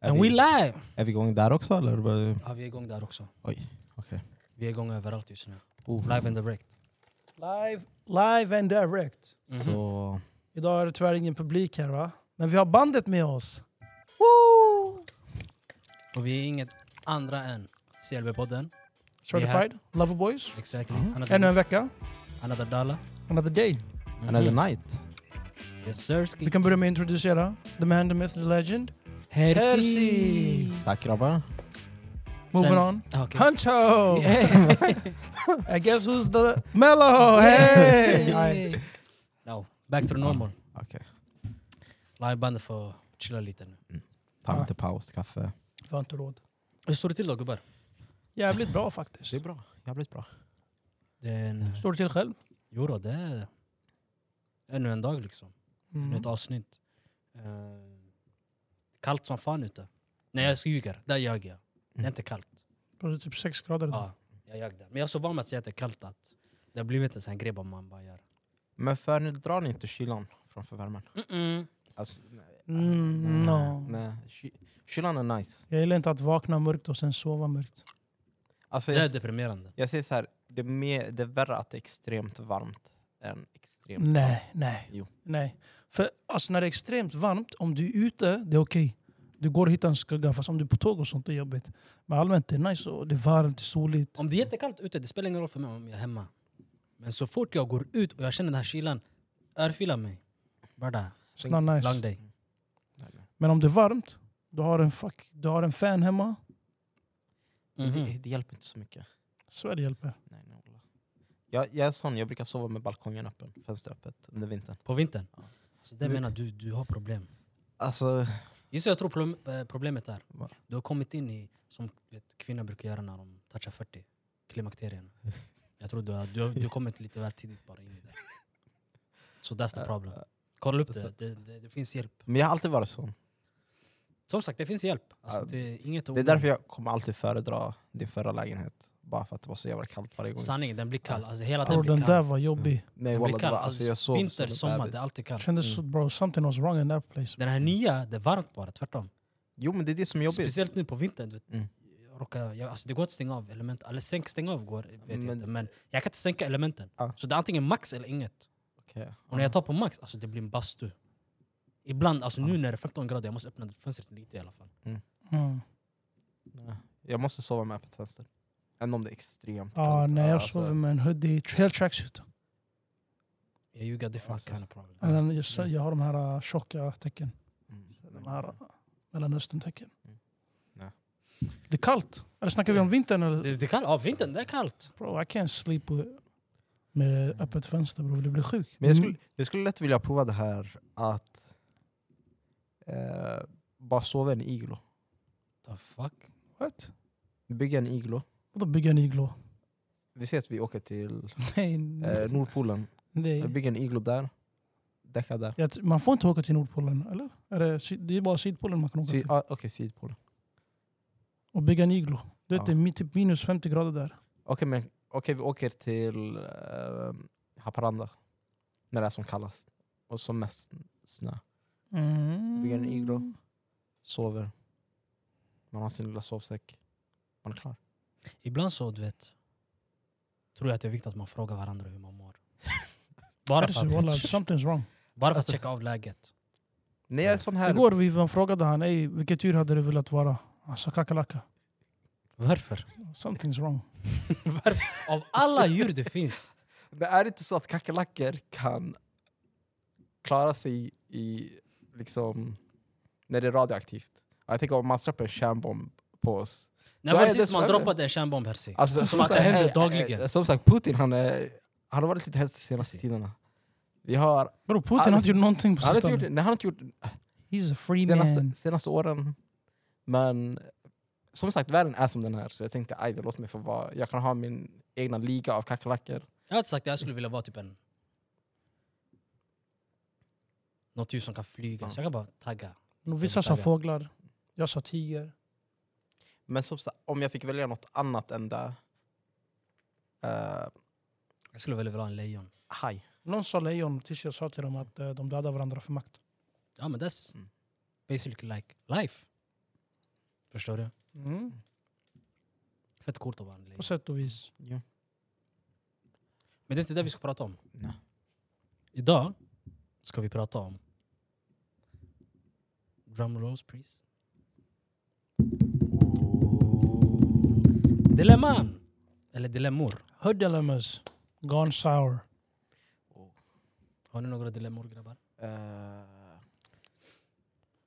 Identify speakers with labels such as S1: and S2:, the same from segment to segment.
S1: And we live!
S2: Är vi igång där också eller? bara-
S1: Ja, vi är igång där också.
S2: Oj, okej.
S1: Vi är igång överallt just nu.
S2: Oh,
S1: Live and direct.
S3: Live, live and direct.
S1: Mhm.
S2: Så...
S3: Idag är det tyvärr ingen publik här va? Men vi har bandet med oss.
S1: Och vi är inget andra än CLB-podden.
S3: Certified, Loverboys.
S1: Exactly.
S2: Mm.
S3: Mm-hmm. Ännu
S1: Another,
S3: en vecka,
S1: another dollar.
S3: another day.
S1: Mhm.
S2: Another night.
S1: Mm-hmm. Yes sirski.
S3: Vi kan börja med att introducera the man, the myth, the legend.
S1: Hersi!
S3: Hersi.
S2: Tack grabbar.
S3: Moving
S1: Sen-
S3: on.
S1: Ah, okej.
S3: Huncho! I guess who's the... Mello! Hey! Nej.
S1: No, back
S3: Ah,
S1: to normal.
S2: Okej.
S1: Livebandet får chilla lite nu.
S2: Ta
S3: Ja.
S2: lite paus, kaffe.
S3: Vi har inte råd.
S1: Hur står det till då gubbar?
S3: Jävligt bra faktiskt.
S2: Det är bra. Jävligt bra.
S1: Det är en...
S3: Står det till själv?
S1: Jo då, det är ännu en dag liksom. Ännu
S3: Mm.
S1: ett avsnitt. Eh, kallt som fan ute. Nej jag ljuger, där ljög jag. Det är inte kallt.
S3: Det är typ 6 grader. idag.
S1: Ja, jag ljög där. Men jag är så van med att säga att det är kallt att det har blivit en sån här grej bara man bara gör.
S2: Men för nu drar ni inte kylan framför värmen?
S1: Mm-mm.
S2: Alltså,
S3: Mm, no.
S2: Nej, ky- kylan är nice.
S3: Jag gillar inte att vakna mörkt och sen sova mörkt.
S2: Alltså,
S1: Det är
S2: jag,
S1: deprimerande.
S2: jag säger så här, det är, mer, det är värre att det är extremt varmt än extremt
S3: Nej, nej.
S2: Jo.
S3: nej. För alltså, när det är extremt varmt, om du är ute, det är okej. Du går och hittar en skugga, fast om du är på tåg och sånt, det är jobbigt. Men allmänt, det är nice och det är varmt, det är soligt.
S1: Om det är jättekallt ute, det spelar ingen roll för mig om jag är hemma. Men så fort jag går ut och jag känner den här kylan, örfilar mig. Bara
S3: It's not
S1: long
S3: nice.
S1: day.
S2: varmt.
S3: Men om det är varmt, du har en, fuck, du har en fan hemma,
S2: Det, Mm.
S1: Mhm.
S2: det hjälper inte så mycket.
S3: så det hjälper.
S2: Nej, nej, wallah. jag, jag är sån, jag brukar sova med balkongen öppen, fönstret öppet under vintern.
S1: På vintern.
S2: Ja.
S1: Så det
S2: Nu-
S1: menar du, du har problem.
S2: Alltså,
S1: Gissa jag tror problem- eh, problemet är,
S2: Va?
S1: du har kommit in i, som vet, kvinnor brukar göra när de touchar 40, klimakterien. Jag tror du har, du, har- du har kommit lite väl tidigt bara in i det. Så so that's the problem. Kolla upp
S2: Alltså-
S1: det. Det, det, det finns hjälp.
S2: men jag har alltid varit sån.
S1: Som sagt, det finns hjälp. Alltså,
S2: Ja,
S1: det är inget
S2: Det är därför jag kommer alltid föredra din förra lägenhet. Bara för att det var så jävla kallt varje gång.
S1: Sanningen, den blir kall. Alltså, hela
S3: Bror,
S1: den
S3: den
S1: blir
S3: där
S1: kall.
S3: var jobbig.
S2: Nej,
S1: Den
S2: wallah,
S1: blir
S2: det
S1: kall.
S2: var, alltså, jag
S1: Alltså,
S2: sov
S1: vinter,
S2: som en
S1: sommar, det
S2: bebis.
S1: är alltid kallt.
S3: Kändes, bro, something was wrong in that place.
S1: Den här nya, det är varmt bara. Tvärtom.
S2: Jo men det är det som är jobbigt.
S1: Speciellt nu på vintern. Du vet,
S2: Mm.
S1: jag råkar, jag, alltså, det går att stänga av element. Eller sänk, stänga av går, vet
S2: Men-
S1: jag inte. Men jag kan inte sänka elementen.
S2: Ja.
S1: Så det är antingen max eller inget.
S2: Okej.
S1: Och när jag tar på max, alltså det blir en bastu. Ibland, alltså nu när det är 15 grader, jag måste öppna fönstret lite i alla fall.
S3: Mm.
S2: Nej. Jag måste sova med öppet fönster. Även om det är extremt
S3: Ah, nej, jag
S2: Alltså,
S3: sover med en hoodie, tr- hel tracksuit.
S1: Yeah, you got different
S2: Okej.
S1: kind of problem.
S3: Och sen just- Jag har de här uh, tjocka tecken.
S2: mm,
S3: De här uh, Mellanöstern-tecken.
S2: Mm. Nej.
S3: Det är kallt. Eller snackar vi om vintern? Eller?
S1: Det, det är kallt, ja vintern, det är kallt.
S3: Bro, I can't sleep with- med öppet fönster bro. Du blir sjuk.
S2: Mm.
S3: Mm.
S2: Men jag skulle, jag skulle lätt vilja prova det här att eh, bara sova i en iglo.
S1: The fuck?
S3: What?
S2: Bygga en iglo.
S3: Vadå bygga en iglo?
S2: Vi ses att vi åker till
S3: Nej,
S2: eh,
S3: nej.
S2: Nordpolen.
S3: nej.
S2: Bygga en iglo där. Däcka där.
S3: Jag, t- man får inte åka till Nordpolen, eller? Är det, syd- det är bara Sydpolen man kan åka
S2: Syd,
S3: till.
S2: ah, Okej, Sydpolen.
S3: Och bygga en iglo. Du vet,
S2: Ja.
S3: det är mi- typ minus 50 grader där.
S2: Okej, men okej, vi åker till eh, Haparanda. När det är som kallast. Och som mest snö. Bygga en iglo. Sover. Man har sin lilla sovsäck. Man är klar.
S1: Ibland så, du vet, tror jag att det är viktigt att man frågar varandra hur man mår. bara
S3: Alltså,
S1: för
S3: wallah,
S1: att,
S3: something's wrong.
S1: bara för att
S2: Alltså-
S1: checka av läget.
S2: Nej, jag är sån här.
S3: Igår vi, man frågade han, Ey, vilket djur hade du velat vara? Han sa kakalaka.
S1: Varför?
S3: Something's wrong.
S1: Varför? Av alla djur det finns.
S2: Men är det inte så att kackerlackor kan klara sig i liksom när det är radioaktivt? Ja, Jag tänker om man släpper en kärnbomb på oss.
S1: När
S2: Vad
S1: var
S2: är
S1: det
S2: det
S1: sist
S2: som
S1: man
S2: händer?
S1: droppade en kärnbomb Herzi?
S2: Alltså,
S1: Som att det
S2: sagt,
S1: händer
S2: eh, eh,
S1: dagligen.
S2: Som sagt, Putin han, är, han har varit lite hemsk de senaste tiderna. Vi har,
S3: Bro,
S2: Han-
S3: Putin har inte gjort någonting på
S2: han har inte gjort,
S3: sistone.
S2: nej, han har inte gjort
S3: He's a free man.
S2: senaste, senaste åren. Men som sagt, världen är som den är. Så jag tänkte, aj, då låt mig få vara. Jag kan ha min egna liga av kackerlackor.
S1: Jag hade sagt att jag skulle vilja vara typ en... Något djur som kan flyga,
S2: Ja.
S1: så jag kan bara tagga.
S3: Vissa sa
S1: Vegetarian.
S3: fåglar, jag sa tiger.
S2: Men som sagt, om jag fick välja något annat än det, eh,
S1: Jag skulle vilja vara en lejon.
S2: haj.
S3: Någon sa lejon tills jag sa till dem att eh, de dödar varandra för makt.
S1: Ja men that's
S2: Mm.
S1: basically like life. Förstår du?
S3: Mm.
S1: Fett coolt att vara en lejon.
S3: På sätt och vis.
S2: Ja.
S1: Men det är inte det vi ska prata om.
S2: Nej.
S1: Idag ska vi prata om... Drum rolls, please. Dilemman! Eller dilemmor.
S3: Hör dilemmas. Gone sour.
S1: Har ni några dilemmor grabbar?
S2: Eh,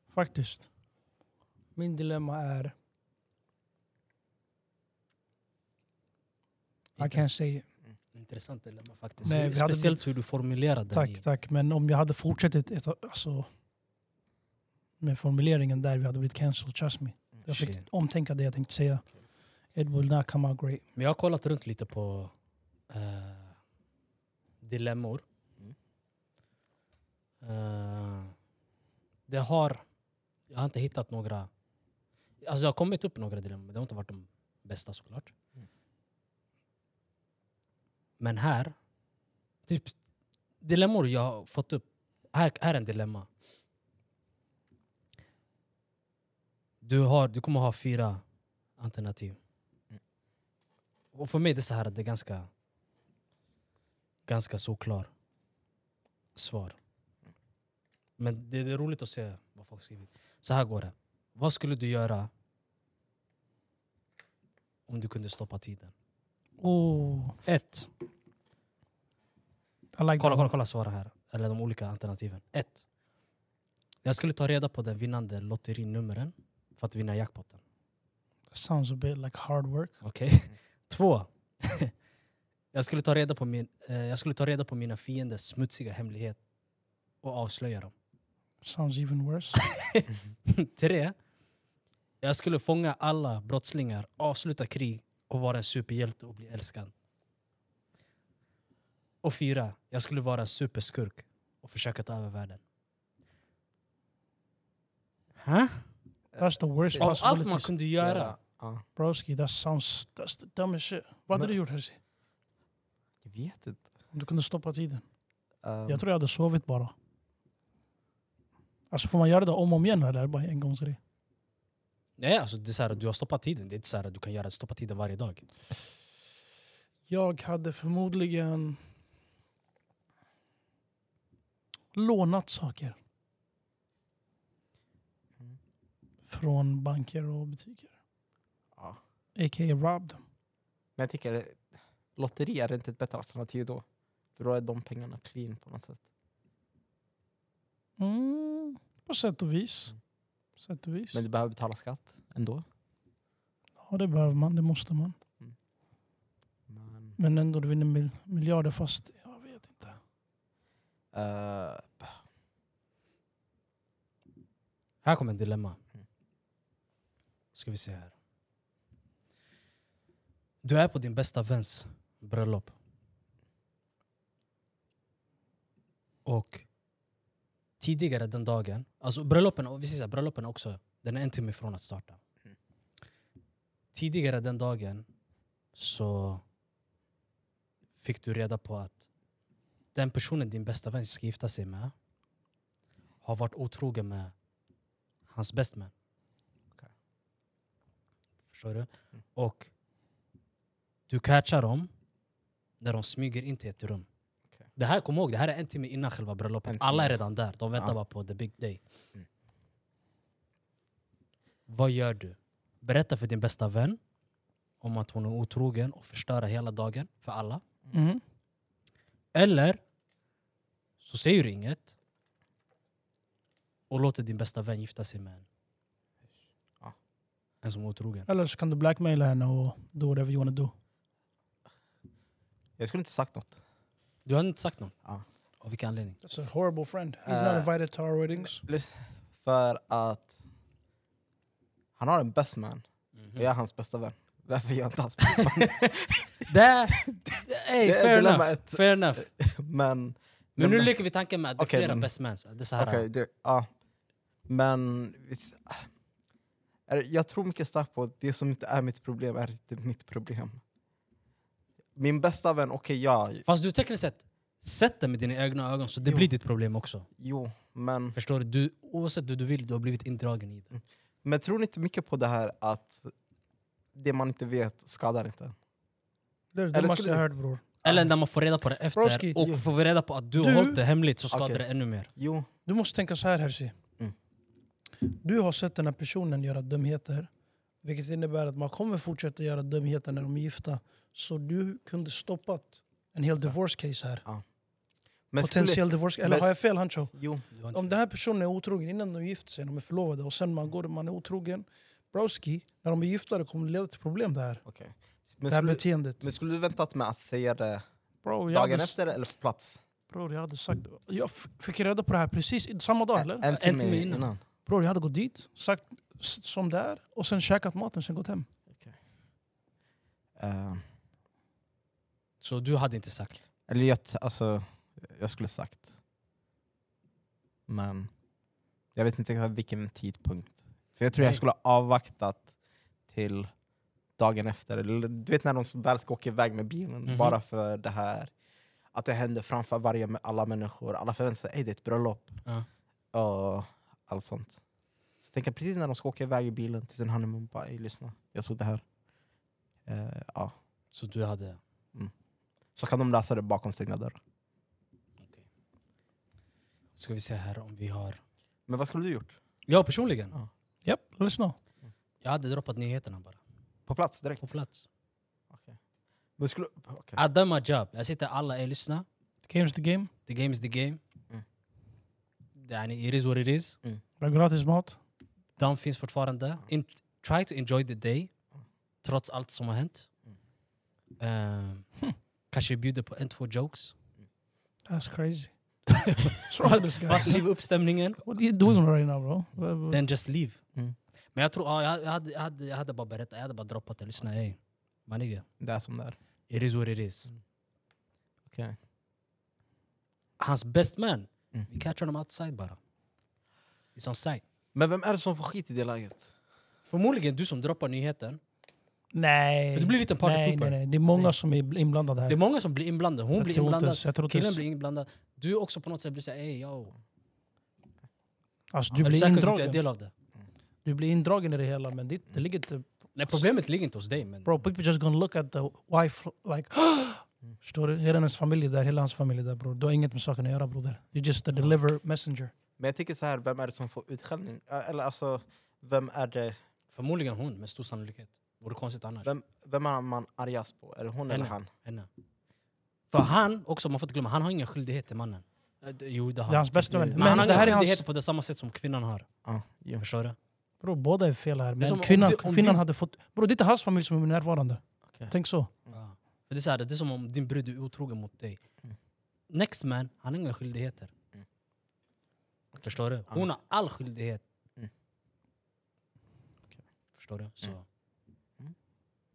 S3: Faktiskt. Min dilemma är... I can't
S1: Intress-
S3: say
S1: Intressant dilemma faktiskt.
S3: Nej, vi hade
S1: Speciellt hur du formulerade
S3: Tack,
S1: den. i-
S3: tack. Men om jag hade fortsatt ett, ett, alltså, med formuleringen där, vi hade blivit cancelled. Trust me. Jag fick
S1: Mm, Shit.
S3: omtänka det jag tänkte säga. It will not come out great.
S1: Men jag har kollat runt lite på eh, dilemmor.
S2: Mm.
S1: Eh, det har... Jag har inte hittat några... Alltså jag har kommit upp några dilemmor, men det har inte varit de bästa såklart.
S2: Mm.
S1: Men här... Typ, dilemmor jag har fått upp. Här här är en dilemma. Du, har, du kommer ha fyra alternativ. Och för mig är det så här att det är ganska, ganska såklar svar. Men det det är roligt att se vad folk skriver. Så här går det. Vad skulle du göra om du kunde stoppa tiden?
S3: Oh,
S1: Ett.
S3: I like
S1: Kolla,
S3: that.
S1: kolla, kolla svaren här. Eller de olika alternativen. Ett. Jag skulle ta reda på den vinnande lotterinumren för att vinna jackpotten.
S3: Sounds a bit like hard work.
S1: Okej. Två. jag, skulle ta reda på min, eh, jag skulle ta reda på mina fienders smutsiga hemlighet och avslöja dem.
S3: Sounds even worse.
S1: Tre. Jag skulle fånga alla brottslingar, avsluta krig och vara en superhjälte och bli älskad. Och fyra. Jag skulle vara en superskurk och försöka ta över världen. Huh?
S3: That's the worst
S1: Av allt man
S3: possibility.
S1: kunde göra.
S2: ja.
S3: Broski, that sounds... That's the dumbest shit. Vad hade
S2: Men-
S3: du gjort Herzi?
S2: Jag vet inte.
S3: Om du kunde stoppa tiden?
S2: Ehm,
S3: Jag tror jag hade sovit bara. Alltså får man göra det om och om igen eller är det bara en gångsgrej?
S1: Nej, alltså det är så här, att du har stoppat tiden. Det är inte så här, att du kan göra stoppa tiden varje dag.
S3: Jag hade förmodligen lånat saker.
S2: Mm.
S3: Från banker och butiker.
S2: ja.
S3: A.k.a. robbed them.
S2: Men jag tycker eh, lotteri är inte ett bättre alternativ då. För då är de pengarna clean på något sätt.
S3: Mm, på sätt och vis. Sätt och vis.
S2: Men du behöver betala skatt ändå.
S3: Ja, det behöver man, det måste man.
S2: Men,
S3: Men ändå, du vinner mil- miljarder fast jag vet inte.
S2: eh,
S1: Här kommer en dilemma.
S2: Mm.
S1: Ska vi se här. Du är på din bästa väns bröllop. Och tidigare den dagen, alltså bröllopen, och vi säger så här, bröllopen också, den är en timme från att starta.
S2: Mm.
S1: Tidigare den dagen så fick du reda på att den personen din bästa vän ska gifta sig med har varit otrogen med hans best man.
S2: Okej. Mm.
S1: Förstår du? Och du catchar dem när de smyger in till ett rum.
S2: Okej.
S1: Det här, kom ihåg, det här är en timme innan själva bröllopet.
S2: En timme.
S1: Alla är redan där, de väntar
S2: Ja.
S1: bara på the big day.
S2: Mm.
S1: Vad gör du? Berätta för din bästa vän om att hon är otrogen och förstöra hela dagen för alla.
S3: Mm.
S1: Eller så säger du inget och låter din bästa vän gifta sig med en.
S2: Ja.
S1: En som är otrogen.
S3: Eller så kan du blackmaila henne och do whatever you wanna do.
S2: jag skulle inte sagt något.
S1: Du har inte sagt någon?
S2: Ja.
S1: Av vilken anledning?
S3: That's a horrible friend.
S2: He's not Eh,
S3: invited to our weddings.
S2: Lys- För att han har en best man. Och
S1: Mm.
S2: jag är hans bästa vän. Varför är jag inte hans bästa vän?
S1: Där! Ey,
S2: Det är
S1: fair,
S2: dilemma
S1: enough.
S2: ett.
S1: fair enough.
S2: Men...
S1: Men nu leker vi tanken med att det är
S2: Okej,
S1: flera
S2: men-
S1: best mans. Det är så här,
S2: Okej, det- ja. Men... vis- är det- Jag tror mycket starkt på att det som inte är mitt problem är inte mitt problem. Min bästa vän, okej ja,
S1: Fast du tekniskt sett, sett det med dina egna ögon så det
S2: Jo.
S1: blir ditt problem också.
S2: jo, men...
S1: Förstår du? du? Oavsett hur du vill, du har blivit indragen i det.
S2: Men tror ni inte mycket på det här att det man inte vet skadar inte?
S3: Det är det
S2: Eller
S3: dummaste
S2: skulle
S3: jag
S2: du-
S3: hört bror.
S1: Eller när man får reda på det efter
S3: Broski,
S1: och
S2: ju.
S1: får vi reda på att du, har
S3: Du-
S1: hållit det hemligt så skadar
S2: Okej.
S1: det ännu mer.
S2: Jo.
S3: Du måste tänka så här Herzi.
S2: Mm.
S3: Du har sett den här personen göra dumheter. Vilket innebär att man kommer fortsätta göra dumheter när de är gifta. Så du kunde stoppat en hel divorce case här.
S2: Men skulle,
S3: Potentiell divorce Eller
S2: men-
S3: har jag fel Hancho?
S2: jo.
S1: Du har inte-
S3: Om den här personen är otrogen innan de gifter sig, de är förlovade och sen man går och man är otrogen. Browski, när de är gifta det kommer det leda till problem det här.
S2: Okay.
S3: Det
S2: Men,
S3: här
S2: skulle,
S3: beteendet.
S2: men skulle du väntat med att säga det
S3: Bro, jag
S2: dagen
S3: hade,
S2: efter eller på plats?
S3: bror, jag hade sagt... Jag f- fick reda på det här precis i- samma dag eller?
S2: En, en timme innan?
S3: Bror, jag hade gått dit, sagt s- som det är och sen käkat maten, sen gått hem.
S2: Eh,
S1: Så du hade inte sagt.
S2: eller jag, t- alltså, jag skulle sagt. Men jag vet inte exakt vilken tidpunkt. För Jag tror jag
S1: Nej.
S2: skulle ha avvaktat till dagen efter. Eller, Du vet när de väl ska åka iväg med bilen
S1: Mhm.
S2: bara för det här. Att det händer framför varje, alla människor. Alla förväntar sig "Ey, det är ett bröllop.
S1: Ja.
S2: Och allt sånt. Så tänker jag precis när de ska åka iväg i bilen till sin honeymoon. Bara, "Ey, lyssna, jag såg det här. Eh, ja.
S1: Så du hade...
S2: Så kan de läsa det bakom stängda dörrar.
S1: Ska vi se här om vi har...
S2: Men vad skulle du gjort?
S1: Jag personligen?
S3: Japp, lyssna.
S1: Jag hade droppat nyheterna bara.
S2: På plats direkt?
S1: På plats.
S2: Men skulle, okej.
S1: I done my job. Jag sitter alla är lyssna.
S3: Game's the game.
S1: The game is the game.
S2: Mm.
S1: Det är, it is what it is.
S3: Det är gratis mat.
S1: De finns fortfarande. In, try to enjoy the day. Trots allt som har hänt. Ehm, kanske bjuder på en, två jokes.
S3: That's crazy. What's wrong with this
S1: För
S3: guy?
S1: att liva upp stämningen.
S3: What are you doing right now bro? Vad- vad-
S1: Then just leave.
S2: Mm.
S1: Men jag tror, ja, jag, jag, hade, jag, hade, jag hade bara berättat, jag hade bara droppat det. Lyssna, ey. Maniga,
S2: Det är som det är.
S1: it is what it is.
S2: Okej.
S1: Hans best man,
S2: Mm.
S1: vi catchar honom outside bara. It's on site.
S2: Men vem är det som får skit i det läget?
S1: Förmodligen du som droppar nyheten.
S3: Nej.
S1: För det blir lite en party
S3: nej,
S1: pooper.
S3: nej, nej. Det är många som är inblandade här.
S1: Det är många som blir inblandade. Hon
S3: Jag
S1: blir
S3: tror inte
S1: inblandad,
S3: ens- jag tror inte
S1: killen
S3: ens-
S1: blir inblandad. Du också på något sätt blir såhär, ey yo.
S3: Alltså, du
S1: Är
S3: blir
S1: säker på att du är en
S3: indragen.
S1: del av det?
S3: Du blir indragen i det hela men det, det ligger inte...
S1: Nej, problemet ligger inte hos dig. Men
S3: Bro, people just gonna look at the wife like... Förstår du? Hela hennes familj är där, hela hans familj är där bror. Du har inget med saken att göra broder. You're just a deliver messenger.
S2: Men jag tänker så här, vem är det som får utskällning? Ä- Eller alltså, vem är det
S1: Förmodligen hon, med stor sannolikhet. Vore konstigt annars.
S2: vem, vem är man argast på? Är det hon eller
S1: Henne.
S2: han?
S1: Henne. För han, också, man får inte glömma, han har ingen skyldighet till mannen. Eh, d- Jo, det har
S3: Det är hans bästa vän.
S2: Men
S1: Men, han
S3: Men
S1: har
S3: det
S1: inga
S3: här är
S1: skyldigheter
S3: hans...
S1: på det samma sätt som kvinnan har.
S2: Ja, jo.
S1: Förstår du?
S3: Bro, båda är fel här.
S1: som
S3: Men
S1: om
S3: kvinnan,
S1: du- om
S3: kvinnan
S1: du-
S3: hade fått... Bro, det är inte hans familj som är närvarande.
S2: Okej.
S3: Tänk så.
S1: Ja. För Det, är så här, det är som om din brud är otrogen mot dig.
S2: Mm.
S1: Next man, han har inga skyldigheter.
S2: Mm.
S1: Förstår du? Hon har all skyldighet.
S2: Mm.
S1: Förstår du? Så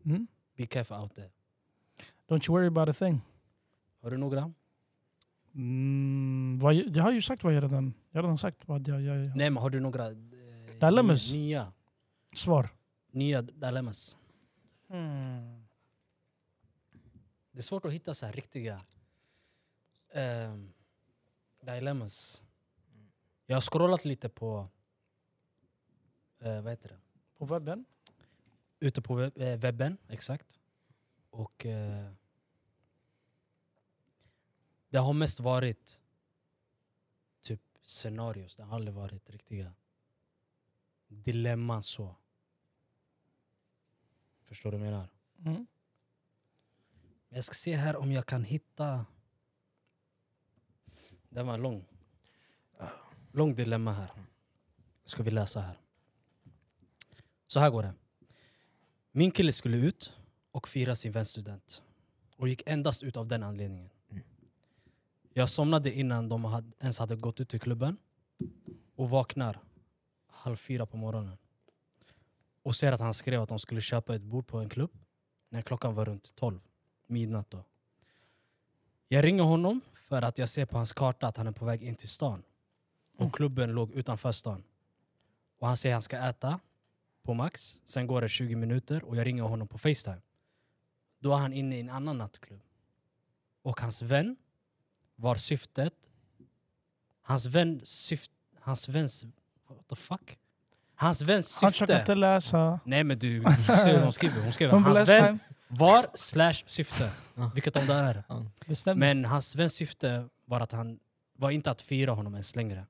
S3: Mm?
S1: be careful out there.
S3: Don't you worry about a thing.
S1: Har du några?
S3: Mm, vad, jag- jag har ju sagt vad jag redan... Jag har redan sagt vad jag... jag, jag.
S1: Nej, men har du några eh,
S3: Dilemmas.
S1: nya- nya,
S3: Svar.
S1: nya dilemmas? Mm. Det är svårt att hitta så här riktiga ehm, dilemmas.
S2: Mm.
S1: Jag har scrollat lite på eh, vad heter det?
S3: På webben?
S1: ute på web- eh, webben, exakt. Och eh, det har mest varit typ scenarios. Det har aldrig varit riktiga dilemman så. Förstår du vad jag menar?
S3: Mm.
S1: Men Jag ska se här om jag kan hitta... Den var lång. Lång dilemma här. Ska vi läsa här. Så här går det. Min kille skulle ut och fira sin väns student och gick endast ut av den anledningen.
S2: Mm.
S1: Jag somnade innan de hade, ens hade gått ut till klubben och vaknar halv fyra på morgonen och ser att han skrev att de skulle köpa ett bord på en klubb när klockan var runt tolv, midnatt då. Jag ringer honom för att jag ser på hans karta att han är på väg in till stan
S3: Mm.
S1: och klubben låg utanför stan. Och han säger att han ska äta på Max. Sen går det 20 minuter och jag ringer honom på Facetime. Då är han inne i en annan nattklubb. Och hans vän var syftet... Hans vän syft... Hans väns... What the fuck? Hans väns
S4: Han försöker
S1: syfte...
S4: inte läsa.
S1: Nej men du, du ser hur hon skriver. Hon skriver
S4: Hon
S1: hans vän
S4: blästar.
S1: var slash syfte.
S2: Ja.
S1: Vilket om det är.
S4: Bestämde.
S1: Men hans väns syfte var, att han, var inte att fira honom ens längre.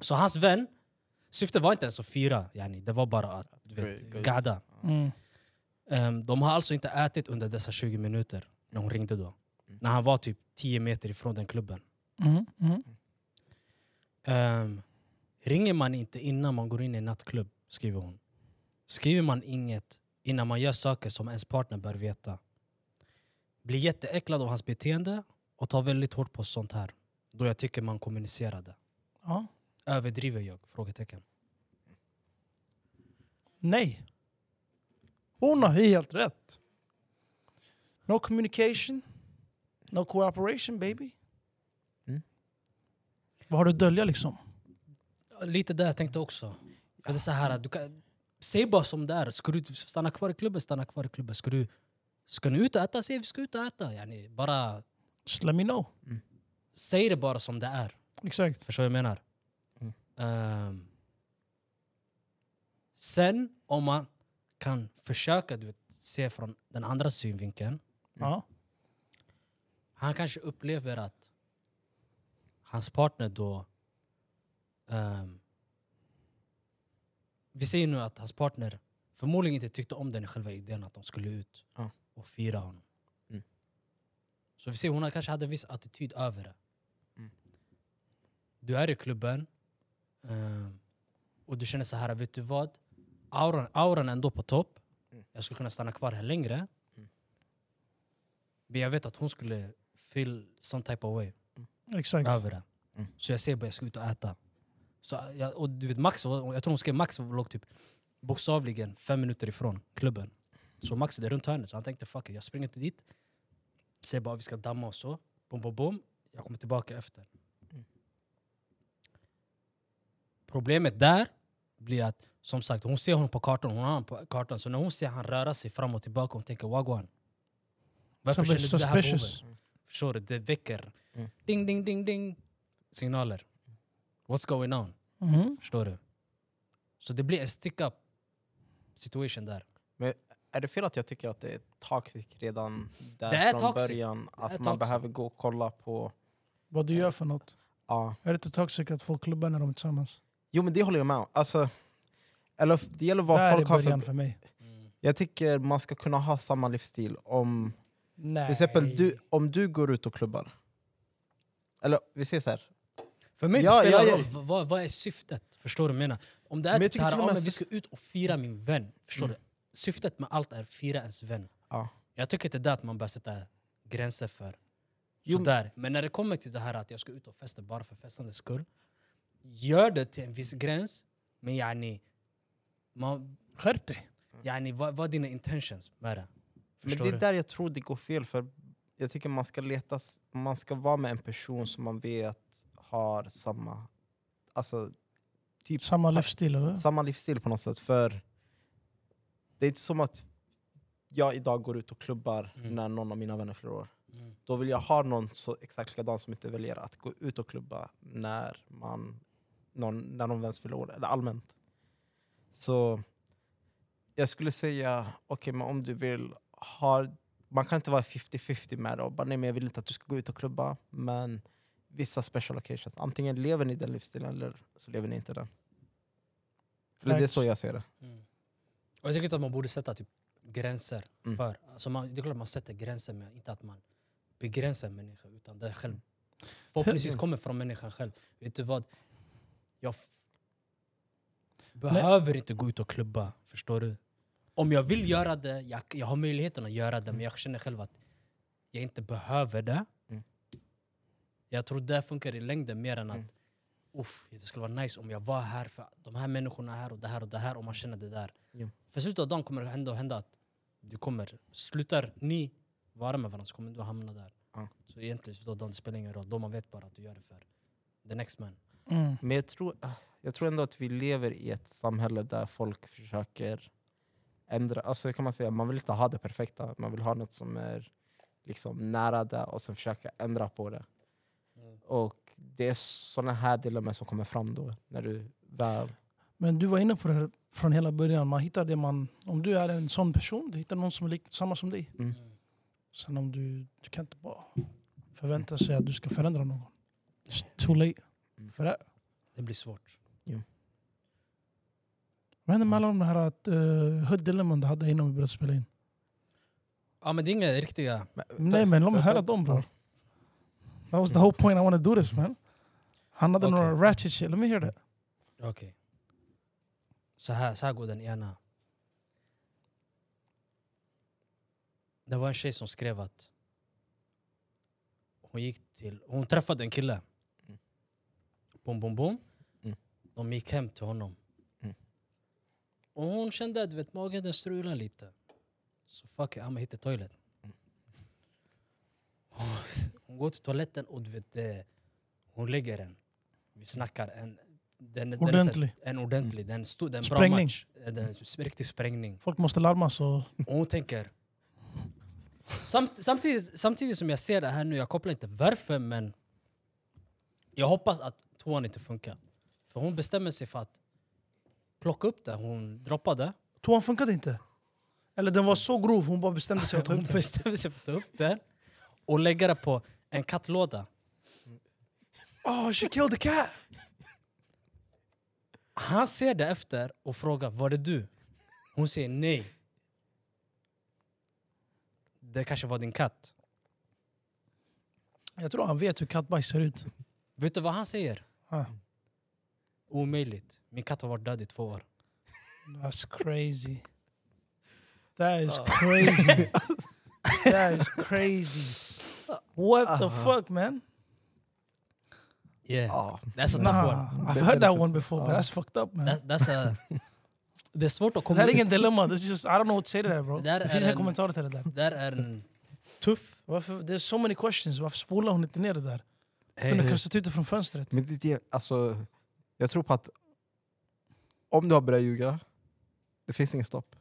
S1: Så hans vän, syfte var inte ens att fira yani. Det var bara att du vet,
S2: Great.
S1: gada.
S4: Mm.
S1: Ehm, de har alltså inte ätit under dessa 20 minuter när hon ringde då.
S2: Mm.
S1: När han var typ 10 meter ifrån den klubben.
S4: Mm. Mm.
S1: Ehm, ringer man inte innan man går in i en nattklubb, skriver hon. Skriver man inget innan man gör saker som ens partner bör veta. Blir jätteäcklad av hans beteende och tar väldigt hårt på sånt här. Då jag tycker man kommunicerade.
S4: Ja.
S1: Överdriver jag? Frågetecken.
S3: Nej. Hon har helt rätt. No communication, no cooperation baby.
S2: Mm.
S4: Vad har du att dölja liksom?
S1: Lite där jag tänkte också. För det är så här, du kan, säg bara som det är. Ska du stanna kvar i klubben, stanna kvar i klubben. Ska, du, ska ni ut och äta, säg vi ska ut och äta. Yani, bara,
S4: Just let me know.
S1: säg det bara som det är.
S4: Exakt.
S1: Förstår du vad jag menar?
S2: Mm.
S1: Ehm, sen om man kan försöka du vet, se från den andra synvinkeln.
S4: Ja.
S1: Han kanske upplever att hans partner då... ehm, vi säger nu att hans partner förmodligen inte tyckte om den själva idén att de skulle ut
S2: Ja.
S1: och fira honom.
S2: Mm.
S1: Så vi ser, hon kanske hade en viss attityd över det.
S2: Mm.
S1: Du är i klubben ehm, och du känner så här, vet du vad? Auran, auran är ändå på topp.
S2: Mm.
S1: Jag skulle kunna stanna kvar här längre.
S2: Mm.
S1: Men jag vet att hon skulle feel some type of way
S4: Exakt.
S1: över det.
S2: Mm.
S1: Så jag säger bara jag ska ut och äta. Så jag, och du vet, Max, var- jag tror hon skrev Max låg typ bokstavligen fem minuter ifrån klubben. Så Max är runt hörnet, så han tänkte fuck it, jag springer inte dit. Säger bara vi ska damma och så. Bom, bom, bom. Jag kommer tillbaka efter.
S2: Mm.
S1: Problemet där blir att, som sagt, hon ser honom på kartan, hon har honom på kartan. Så när hon ser han röra sig fram och tillbaka, hon tänker wagwan. Varför
S4: Somebody
S1: känner du det här behovet?
S4: suspicious.
S1: Förstår du? Det väcker
S2: Mm.
S1: ding, ding, ding, ding signaler. What's going on?
S4: Mhm.
S1: Förstår du? Så det blir en stick-up situation där.
S2: Är det fel att jag tycker att det är toxic redan där
S1: Det är
S2: från
S1: toxic.
S2: början? Att
S1: är
S2: man
S1: toxic.
S2: behöver gå och kolla på...
S4: Vad du gör för något.
S2: Ja.
S4: Är det inte toxic att få klubbar när de är tillsammans?
S2: Jo men det håller jag med om. Alltså, eller det gäller
S4: Där
S2: vad
S4: är
S2: folk har
S4: början
S2: för...
S4: för mig.
S2: Jag tycker man ska kunna ha samma livsstil om
S4: Nej.
S2: Till exempel du, om du går ut och klubbar. Eller vi säger så här.
S1: För mig
S2: Ja,
S1: det spelar
S2: ja, ja.
S1: roll. V- Vad, vad är syftet? Förstår du vad jag menar? Om det är
S2: Men jag
S1: typ
S2: tycker
S1: så här,
S2: till och
S1: ja,
S2: med
S1: men vi
S2: så-
S1: ska ut och fira min vän. Förstår
S2: Mm.
S1: du? Syftet med allt är att fira ens vän.
S2: Ja.
S1: Jag tycker inte det är att man bör sätta gränser för.
S2: Jo,
S1: Sådär. Men när det kommer till det här att jag ska ut och festa bara för festandets skull. Gör det till en viss gräns, men yani, man,
S4: Skärp dig.
S1: yani, vad, vad är dina intentions med det?
S2: men
S1: Förstår
S2: det är
S1: du?
S2: där jag tror det går fel. För jag tycker man ska leta, s- man ska vara med en person som man vet har samma, alltså, typ,
S4: Samma livsstil eller?
S2: samma livsstil på något sätt. För det är inte som att jag idag går ut och klubbar
S1: Mm.
S2: när någon av mina vänner fyller år.
S1: Mm.
S2: Då vill jag ha någon så exakt likadan som inte väljer att gå ut och klubba när man någon, när någon väns fyller år, eller allmänt. Så jag skulle säga, okej men om du vill ha... Man kan inte vara 50-50 med det och bara nej men jag vill inte att du ska gå ut och klubba. Men vissa special occasions, antingen lever ni den livsstilen eller så lever ni inte den. För det är
S4: Facts.
S2: så jag ser det.
S1: Mm. Och jag tycker inte att man borde sätta typ, gränser.
S2: Mm.
S1: för. Alltså man, det är klart man sätter gränser, men inte att man begränsar en människa. Utan det är själv, förhoppningsvis kommer från människan själv. Vet du vad? Jag f- behöver inte gå ut och klubba, förstår du? Om jag
S2: Mm.
S1: vill göra det, jag, jag har möjligheten att göra det, men jag känner själv att jag inte behöver det.
S2: Mm.
S1: Jag tror det funkar i längden mer än att
S2: Mm.
S1: Uff, det skulle vara nice om jag var här för de här människorna här och det här och det här och man känner det där.
S2: Jo.
S1: För slutet av dagen kommer det ändå hända att du kommer, slutar ni vara med varandra så kommer du hamna där.
S2: Ja.
S1: Så egentligen slutet av dagen det spelar ingen roll, då man vet bara att du gör det för the next man.
S4: Mm.
S2: Men jag tror, ah, jag tror ändå att vi lever i ett samhälle där folk försöker ändra. Alltså hur kan man säga, man vill inte ha det perfekta. Man vill ha något som är liksom nära det och sen försöka ändra på det.
S3: Mm.
S2: Och det är sådana här dilemma som kommer fram då. När du väl...
S3: Men du var inne på det här från hela början. Man hittar det man... Om du är en sån person, du hittar någon som är likt, samma som dig.
S2: Mm.
S3: Sen om du... Du kan inte bara förvänta sig att du ska förändra någon. It's too late.
S2: Mm.
S3: För det.
S1: Det blir svårt.
S3: Vad händer med alla de här att uh, Hood Dilemman du hade innan vi började spela in?
S1: Ja men det är inga riktiga...
S3: Nej men låt mig höra dem bror. That was the whole point I wanna do this man. Han hade
S1: Okej.
S3: några ratchet shit. Let me hear that.
S1: Okej. Så, här, så här går den ena. Det var en tjej som skrev att hon gick till... Hon träffade en kille.
S2: Mm.
S1: Boom, boom, boom.
S2: Mm.
S1: De gick hem till honom.
S2: Mm.
S1: Och hon kände att du vet, magen den strulade lite. Så fuck it, I'mma hit the toilet.
S2: Mm.
S1: Hon går till toaletten och du vet, det, hon lägger den. Vi snackar en... Den, den är så här-
S3: Ordentlig.
S1: en ordentlig, den stod, den bra
S3: Sprängning.
S1: match. Den, en sp- riktig sprängning.
S3: Folk måste larma så...
S1: Och hon tänker... Samt, samtidigt, samtidigt som jag ser det här nu, jag kopplar inte varför men... Jag hoppas att toan inte funkar. För hon bestämmer sig för att plocka upp det hon droppade.
S3: Toan funkade inte. Eller den var så grov, hon bara bestämde sig att ta
S1: Hon
S3: upp den.
S1: bestämmer sig för att ta upp den och lägga det på en kattlåda.
S3: Oh, she killed the cat!
S1: Han ser det efter och frågar var det du? Hon säger nej. Det kanske var din katt.
S3: Jag tror han vet hur kattbajs ser ut.
S1: Vet du vad han säger?
S3: Ah.
S1: Omöjligt. Min katt har varit död i två år.
S4: That's crazy. That is
S1: Ah.
S4: crazy. that is crazy. What the
S1: Ah.
S4: fuck man?
S1: Yeah.
S2: Ja.
S1: That's a tough
S3: Nah,
S1: one.
S3: I've
S2: Det-
S3: heard
S2: det är
S3: that
S2: lite-
S3: one before but
S2: ja.
S3: that's fucked up man.
S1: That, that's a... Det är svårt att
S3: Det
S1: komma
S3: här är ingen
S1: ut.
S3: dilemma, this is just, I don't know what to say to that bro.
S1: Det där
S3: Det
S1: är
S3: finns inga
S1: en-
S3: kommentarer till det där.
S1: Där är en tuff...
S3: Varför, there's so many questions, varför spolar hon inte ner det där?
S1: Hey.
S3: Hon har kastat ut det från fönstret.
S2: Men det, det, alltså, jag tror på att om du har börjat ljuga, det finns ingen stopp.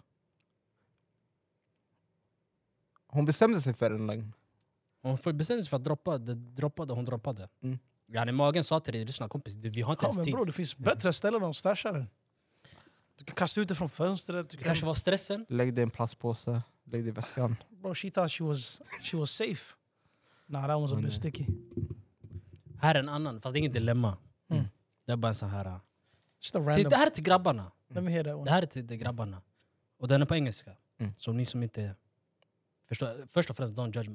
S2: Hon bestämde sig för en lögn.
S1: Hon får- bestämde sig för att droppa det droppade hon droppade.
S2: Mm.
S1: Ja, när magen sa till dig, lyssna kompis, du, vi har inte
S3: Ja,
S1: ens
S3: men
S1: tid.
S3: bro, det finns bättre ställen att stasha den. Du kan kasta ut det från fönstret. Du
S1: Det
S3: kan,
S1: kanske var stressen.
S2: Lägg det i en plastpåse, lägg det i väskan.
S3: bro, she thought she was, she was safe. Nah, that one's a
S2: Mm.
S3: bit sticky.
S1: Här är en annan, fast det är inget dilemma.
S3: Mm.
S1: Det är bara en sån här... uh,
S3: Just a
S1: till- Det
S3: random.
S1: här är till grabbarna.
S3: Let me hear that
S1: Det
S3: one.
S1: här är till de grabbarna. Och den är på engelska.
S2: Mm.
S1: Så ni som inte... Förstår, först och främst, don't judge...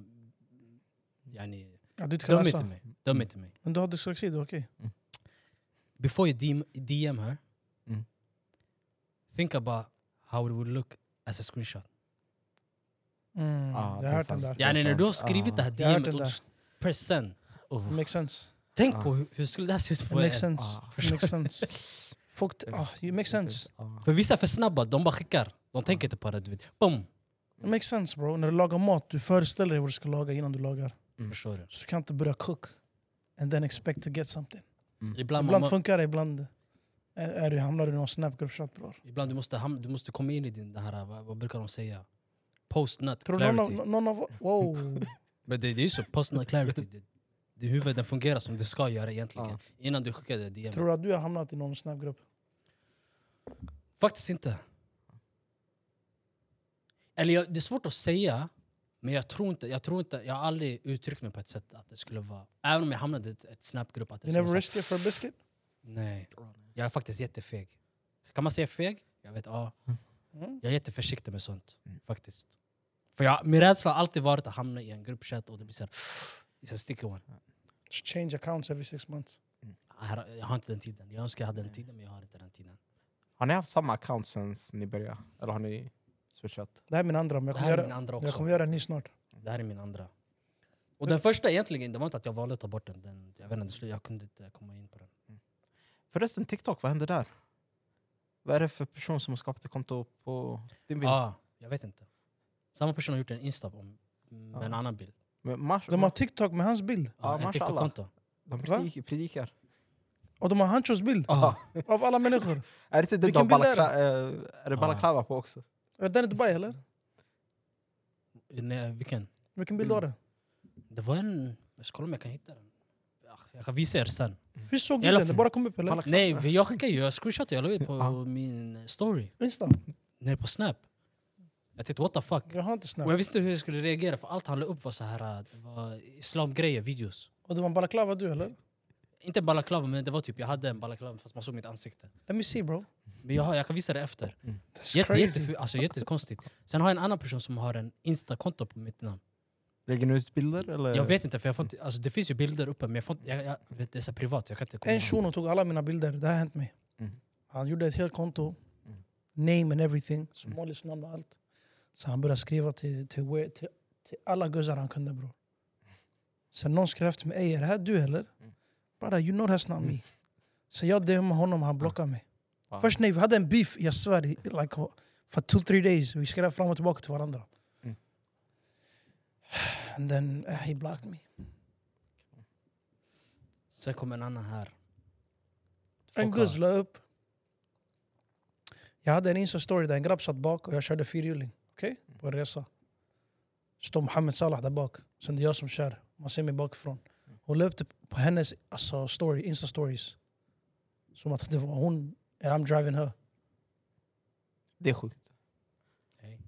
S1: Yani,
S3: Ja, du inte kan
S1: döm inte
S3: läsa.
S1: mig. Döm inte mig.
S3: Men du har dyslexi, det är okej.
S1: Before you DM, DM her,
S2: Mm.
S1: think about how it would look as a screenshot.
S3: Mm,
S2: Ah,
S3: jag
S2: det
S3: har
S2: är
S3: hört den
S2: sant.
S3: där.
S1: Yani, när du har
S2: sant.
S1: skrivit det här
S3: Jag har hört
S1: DMet
S3: den
S1: och
S3: där.
S1: press send.
S3: It makes sense.
S1: Tänk
S2: Ah.
S1: på hur, hur skulle det här se ut
S3: It
S1: på en.
S3: makes sense.
S2: Ah.
S3: It makes sense. Folk, ah, it makes sense.
S2: Ja.
S1: För vissa är för snabba, de bara skickar. De tänker inte på det. Du vet. Boom!
S3: It makes sense bro. När du lagar mat, du föreställer dig vad du ska laga innan du lagar.
S2: Mm.
S1: Förstår du?
S3: Så du kan inte börja cook and then expect to get something.
S1: Ibland,
S3: Ibland
S1: man,
S3: funkar det, ibland är, är du, hamnar du i någon snapgruppchatt bror.
S1: ibland du, måste, ham- du måste komma in i din... Det här, vad, vad brukar de säga? Post-nut
S3: Tror du någon
S1: clarity.
S3: av, någon av... Wow.
S1: Men det, det är ju så, personal clarity. Det, det huvudet den fungerar som det ska göra egentligen.
S2: Ja.
S1: Innan du skickar det DM.
S3: Tror du att du har hamnat i någon snapgrupp?
S1: Faktiskt inte. Eller jag, det är svårt att säga. Men jag tror inte, jag tror inte, jag har aldrig uttryckt mig på ett sätt att det skulle vara... Även om jag hamnade i ett, ett snapgrupp att det
S3: You
S1: skulle
S3: never
S1: vara...
S3: risked it for a biscuit?
S1: Nej, jag är faktiskt jättefeg. Kan man säga feg? Jag vet, ja.
S3: Mm.
S1: Jag är jätteförsiktig med sånt.
S2: Mm.
S1: Faktiskt. För jag, min rädsla har alltid varit att hamna i en gruppchatt och det blir såhär... It's a sticky one.
S3: Just change accounts every six months.
S1: Jag har- Jag har inte den tiden. Jag önskar jag hade den tiden men jag har inte den tiden.
S2: Har ni haft samma account sen ni började? Eller har ni switchat?
S3: Det här är min andra, men jag
S1: Det
S3: kommer,
S1: här är min
S3: göra,
S1: andra
S3: jag kommer
S1: också.
S3: göra en ny snart.
S1: Det här är min andra. Och den första egentligen, det var inte att jag valde att ta bort den. den jag vet inte, slu- jag kunde inte komma in på den.
S2: Förresten, TikTok, vad hände där? Vad är det för person som har skapat ett konto på din bild?
S1: Ah, jag vet inte. Samma person har gjort en Insta om, med
S2: Ja.
S1: en annan bild.
S2: Men mars,
S3: De har TikTok med hans bild.
S1: Ah,
S2: Ja,
S1: en
S2: mashallah.
S1: TikTok-konto.
S2: de
S3: Va?
S2: predik- predikar.
S3: Och de har Hanchos bild
S1: Ah.
S3: av alla människor.
S2: Är det inte den du har
S3: Vilken bild är det?
S2: balakla- eh, är det
S1: Ja.
S2: balaklava på också?
S3: Är den i Dubai eller?
S1: Nej, vilken?
S3: Vilken bild var det?
S1: Det var en... Jag ska kolla om jag kan hitta den. Ah, Jag kan visa er sen.
S3: Hur såg
S1: I
S3: du
S1: alla
S3: den? Det
S1: fall.
S3: bara kom upp eller?
S1: Nej, vi- jag skickade ju, jag screenshotade, jag la ut på
S2: Ja.
S1: min story.
S3: Insta?
S1: Nej, på snap. Jag tänkte what the fuck.
S3: Jag har inte snabbt.
S1: Och jag visste inte hur jag skulle reagera för allt han la upp var så här, äh, det var islamgrejer, videos.
S3: Och det var en balaklava du eller?
S1: Inte balaklava men det var typ, jag hade en balaklava fast man såg mitt ansikte.
S3: Let me see bro.
S1: Men jag, har, jag kan visa det efter.
S3: That's
S1: Jätte,
S3: crazy.
S1: jätte, alltså, jättekonstigt. Sen har jag en annan person som har en instakonto på mitt namn.
S2: Lägger ni ut bilder eller?
S1: Jag vet inte, för jag får inte, alltså, det finns ju bilder uppe men jag får inte, jag, jag, vet, det är så här privat, jag kan inte komma
S3: En
S1: ihåg.
S3: shuno tog alla mina bilder, det har hänt mig.
S2: Mm.
S3: Han gjorde ett helt konto,
S2: Mm.
S3: name and everything,
S2: Mm.
S3: somalis namn och allt. Så han började skriva till, till, we- till, till alla guzzar han kunde bror. Sen någon skrev till mig, "Ey, är det här du eller?
S2: Mm.
S3: Brother you know that's not me. Så jag DM honom, han blockade mig.
S2: Wow.
S3: Först när vi hade en beef, jag svär, i- like, för two three days. Vi skrev fram och tillbaka till varandra.
S2: Mm.
S3: And then eh, he blocked me.
S1: Sen kom en annan här.
S3: En
S1: Folk har-
S3: guzz la upp. Jag hade en Insta-story där en grabb satt bak och jag körde fyrhjuling. Okej? På en resa. Står Mohammed Salah där bak. Sen det är jag som kör. Man ser mig bakifrån. Hon la upp det på hennes alltså, story, Insta-stories. Som att det var hon, and I'm driving her.
S2: Det är sjukt.
S1: Hey.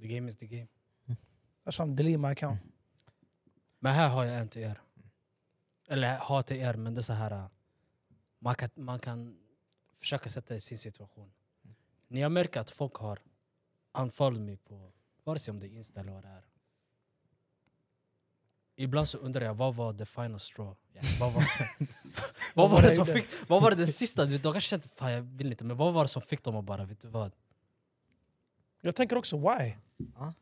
S1: The game is the game.
S3: Alltså I'm delete my account.
S1: Men här har jag en till er. Eller har till er, men det är så här. äh, Man kan, man kan försöka sätta i sin situation. När jag märker att folk har anfallit mig på vare sig om det är Insta eller vad det är. Ibland så undrar jag, vad var the final straw? Ja, vad, var, vad, var det som fick, vad var det, det sista? Du vet, De kanske kände, fan jag vill inte, men vad var det som fick dem att bara, vet du vad?
S3: Jag tänker också why?
S2: Ja.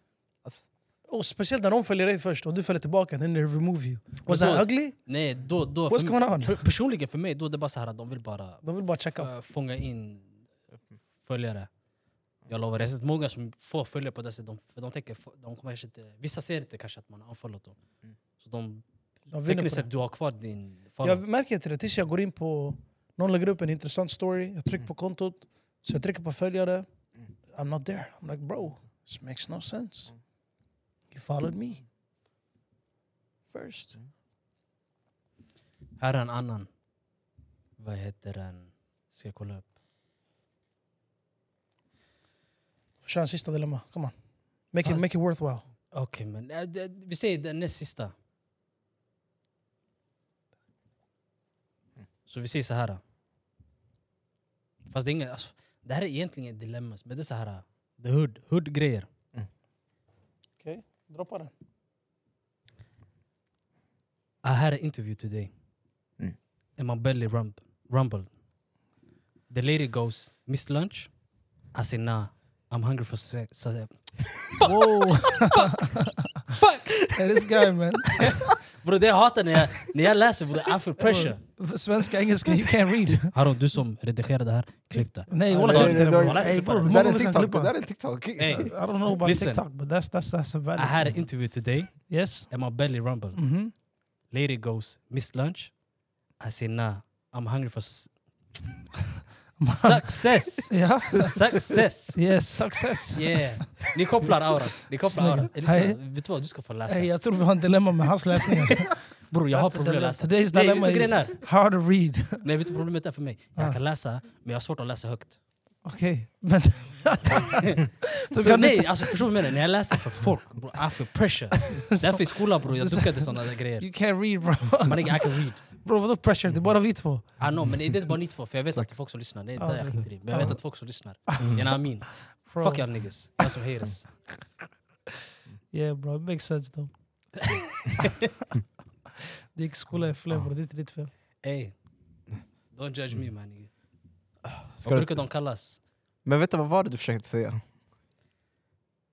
S2: Alltså.
S3: Och speciellt när de följer dig först och du följer tillbaka. Then they remove you. Was
S1: Men då-
S3: that ugly?
S1: Nej, då, då,
S3: What's
S1: för mig,
S3: going on?
S1: per- personligen för mig, då är det bara så här att de vill bara
S3: De vill bara checka up.
S1: Äh, fånga in följare. Jag lovar, jag har sett många som får följare på det sättet. De, för de tänker, f- de kommer kanske inte, vissa ser inte kanske att man har unfollowat dem.
S2: Mm.
S1: Så de,
S3: De vinner på
S1: tekniskt
S3: det.
S1: sett, du har kvar din follow.
S3: Jag märker inte det tills jag går in på... Någon lägger upp en intressant story, jag trycker
S1: Mm.
S3: på kontot, så jag trycker på följare. I'm not there. I'm like bro, this makes no sense.
S1: Mm.
S3: You followed me first.
S1: Här är en annan. Vad heter den? Ska jag kolla upp?
S3: Kör en sista dilemma, come on. Make it,
S1: Fast-
S3: make it worthwhile.
S1: Okej, men äh, det- vi säger den näst sista. Så vi säger så här. Fast det är inget, alltså, det här är egentligen ett dilemma, men det är så här. Det är hood, hood-grejer.
S3: Okej, droppa den.
S1: I had an interview today
S2: Mm.
S1: and my belly rumb- rumbled. The lady goes, Miss Lunch? I said, Nah, I'm hungry for sex. So,
S4: Whoa. Hey, this guy man.
S1: bro, det jag hatar när jag, när jag läser, bro, I feel pressure.
S4: Svenska, engelska, you can't read.
S1: Haron, du som redigerade det här, klipp det.
S4: Nej,
S1: Alltså,
S4: walla,
S1: det-
S4: klipp det,
S1: det-
S4: bro.
S1: det-
S4: Hey, bro,
S1: det-
S2: Det
S4: hur många
S2: där är en
S4: gånger ska jag
S2: TikTok. Det
S4: klippa?
S2: där är en TikTok.
S1: Hey,
S4: I don't know about
S1: Listen. Ah.
S4: TikTok, but that's that's that's a
S1: I
S4: valid.
S1: had an interview today
S4: Yes.
S1: and my belly rumbled.
S4: Mm-hmm.
S1: Lady goes, Miss Lunch? I said, Nah, I'm hungry for s- success.
S4: Yeah.
S1: success.
S4: Yes. Success.
S1: Yeah. Ni kopplar auran. Ni kopplar auran.
S4: Snyggt.
S1: Elisa,
S4: Hej.
S1: Vet du vad, du ska få läsa.
S4: Hey, jag tror vi har en dilemma med hans läsningar.
S1: Bror, jag har
S4: That's the
S1: problem att
S4: dilemma.
S1: läsa.
S4: Today's
S1: Nej,
S4: dilemma
S1: vet du
S4: is
S1: grejen är?
S4: how to read.
S1: Nej, vet du problemet är för mig?
S4: Ah.
S1: Jag kan läsa, men jag har svårt att läsa högt.
S4: Okej, men
S1: Så
S4: kan du
S1: nej, alltså förstår du vad jag menar? När jag läser för folk, bro, I feel pressure. Därför i skolan bror, jag duckar inte sådana där grejer.
S4: you can't read bro.
S1: Man I can read.
S4: Bro vadå pressure? Det är bara vi två.
S1: I know, men det är inte bara ni två, för jag vet att det är folk som lyssnar. Det är där jag skiter i. Men jag vet att folk som lyssnar. You know what I mean?
S4: Mm. Bro.
S1: Fuck y'all niggas. That's some haters.
S4: Yeah bro, it makes sense though. Det gick skola i Flen
S1: Oh.
S4: bror, det är inte ditt fel.
S1: Ey, don't judge me man. nigga. Vad
S2: Ska
S1: brukar
S2: du...
S1: de kallas?
S2: Men vänta, vad var det du försökte säga?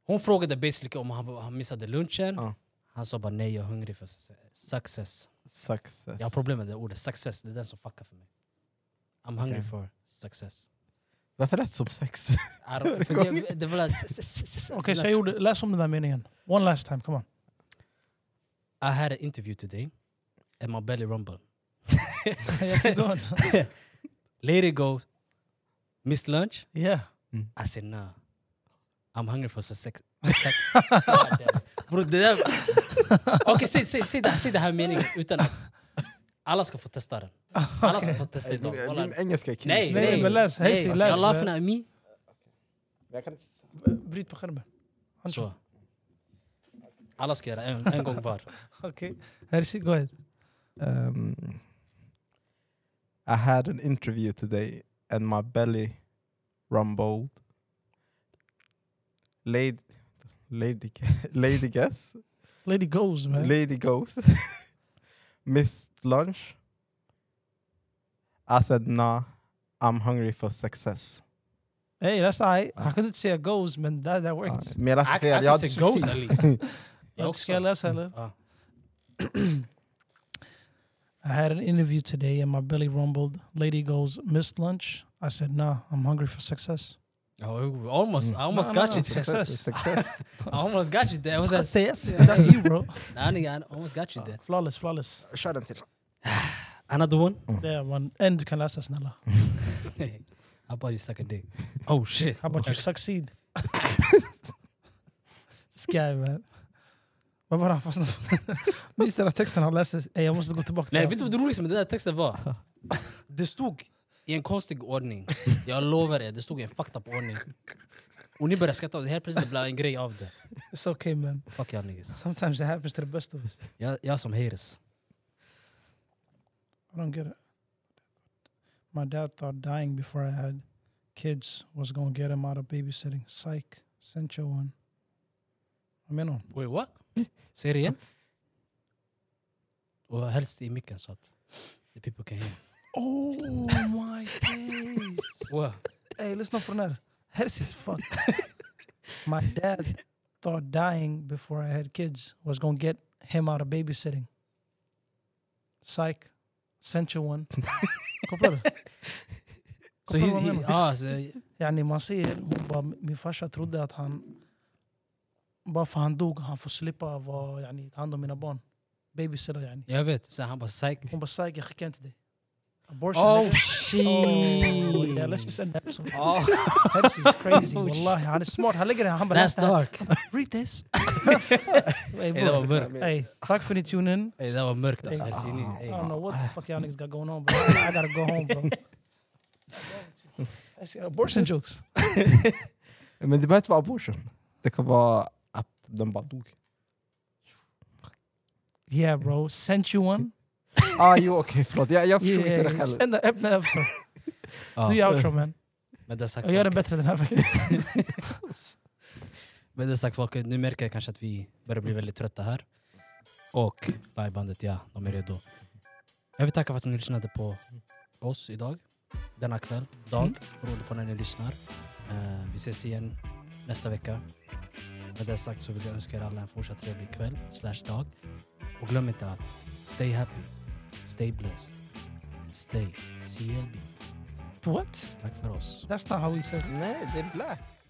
S1: Hon frågade basically om han, han missade lunchen.
S2: Ja.
S1: Han sa bara nej, jag är hungrig för success.
S2: Success.
S1: Jag har problem med det ordet, success. Det är den som fuckar för mig. I'm hungry
S2: Okej.
S1: for success.
S2: Varför lät det som sex?
S1: I don't- för det- det var like- s- s- s- s-
S3: Okej, så jag gjorde, läs om den där meningen. One last time, come on.
S1: I had an interview today and my belly rumbled.
S4: Jag keep going.
S1: Lady goes, Miss Lunch?
S4: Yeah.
S1: I said nah. I'm hungry for success. Bro, det där... Okej, säg, säg, säg, det- säg det här meningen utan att alla ska få testa den. Alla ska få testa idag.
S2: Min-
S1: Kolla.
S2: Min engelska är kris.
S1: Nej,
S4: Nej,
S1: nej.
S4: men läs. Hej,
S1: Nej,
S4: sig, läs.
S1: You're laughing at me.
S2: Jag kan inte...
S3: Bryt på skärmen.
S1: Så. Alla ska göra en, en gång var.
S4: Okej. Hersi, go ahead.
S2: Um, I had an interview today and my belly rumbled. Lady, lady, lady guess,
S4: Lady goes man.
S2: lady goes. Missed lunch. I said nah, I'm hungry for success.
S4: Hey, that's alright. Han kunde inte säga goes men that, that works.
S2: Ah, Men jag läste
S1: I, I
S2: fel. Jag
S1: can
S2: hade
S1: say goes
S2: fel.
S1: at least. Jag
S4: Jag ska
S1: också.
S4: jag läsa eller?
S1: Ah.
S4: I had an interview today and my belly rumbled. Lady goes, missed lunch? I said, nah, I'm hungry for success.
S1: Oh, almost, I almost
S4: No, no,
S1: got
S4: no.
S1: you. there.
S4: Success.
S2: Success.
S1: I almost got you there. I was like,
S4: Success. That's you bro.
S1: nah, nigga, I almost got you there.
S4: Flawless, flawless.
S2: Kör den till.
S1: Another one?
S4: There man. En du kan läsa snälla.
S1: How about you suck a dick? Oh shit.
S4: How about you succeed? This guy man. Vad var det han fastnade för? Minns den här texten han läste? Ey, jag måste gå tillbaka
S1: Nej,
S4: det
S1: vet du vad det roligaste med den där texten var? Det stod i en konstig ordning. Jag lovar er, det stod i en fucked up ordning. Och ni började skratta och det helt plötsligt blev en grej av det.
S4: avsnittet. It's okay man.
S1: Fuck y'all niggas.
S4: Sometimes it happens to the best of us.
S1: Jag, jag som haters.
S4: I don't get it.
S3: My dad thought dying before I had kids was gonna get him out of babysitting. Psych. Sent you one. Vad menar hon?
S1: Wait what? Säg det igen. Och helst i micken så att the people can hear.
S4: Oh my days!
S1: Wow.
S4: Ey, lyssna på den här. Hers is fucked. My dad
S3: Thought dying before I had kids was gonna get him out of babysitting. Psych. Sent you one. Kopplar du?
S1: Så
S3: Kopplar
S1: he,
S3: du vad jag
S1: he,
S3: menar?
S1: ah, så,
S3: Yani man ser, hon bara, min farsa trodde att han, bara för han dog, han får slippa vara, yani, ta hand om mina barn. Babysitter yani.
S1: jag vet, så han bara psych.
S3: Hon bara psyk, jag skickar inte dig. Abortion
S1: Oh
S3: nigga.
S1: shit!
S3: Oh, yeah, let's just end the episode.
S1: Oh,
S3: That's is crazy.
S1: Oh, shit.
S3: Wallahi, han är smart. Han lägger det här, han bara
S1: that's
S3: läser det här.
S1: dark.
S3: Read this. Ey,
S1: Hey, det var
S3: bror.
S1: mörkt.
S3: Ey, tack för att ni tunade in.
S1: Hey, det var mörkt alltså.
S3: Hey.
S1: Jag ser ni-
S2: Ah.
S1: hey.
S3: I don't know what the fuck y'all niggas got going on, bro. I gotta go home, bro. Actually, Abortion jokes.
S2: Men det behöver inte vara abortion. Det kan vara att den bara dog.
S4: Yeah bro, sent you one.
S2: Ah, jo, okej, förlåt. Jag, jag förstod inte det
S4: Yeah,
S2: själv.
S4: ända öppna episode.
S1: Ja.
S4: Du gör outro man. Oh,
S1: Med det sagt,
S4: Jag gör den
S1: folk,
S4: bättre den här veckan.
S1: med det sagt folk, nu märker jag kanske att vi börjar bli väldigt trötta här. Och livebandet, ja, de är redo. Jag vill tacka för att ni lyssnade på oss idag. Denna kväll, dag, beroende på när ni lyssnar. Eh, vi ses igen nästa vecka. Med det sagt så vill jag önska er alla en fortsatt trevlig kväll, slash dag. Och glöm inte att stay happy, stay blessed, and stay CLB.
S4: What?
S1: Tack för oss.
S4: That's not how he says it.
S2: Nej, det är black.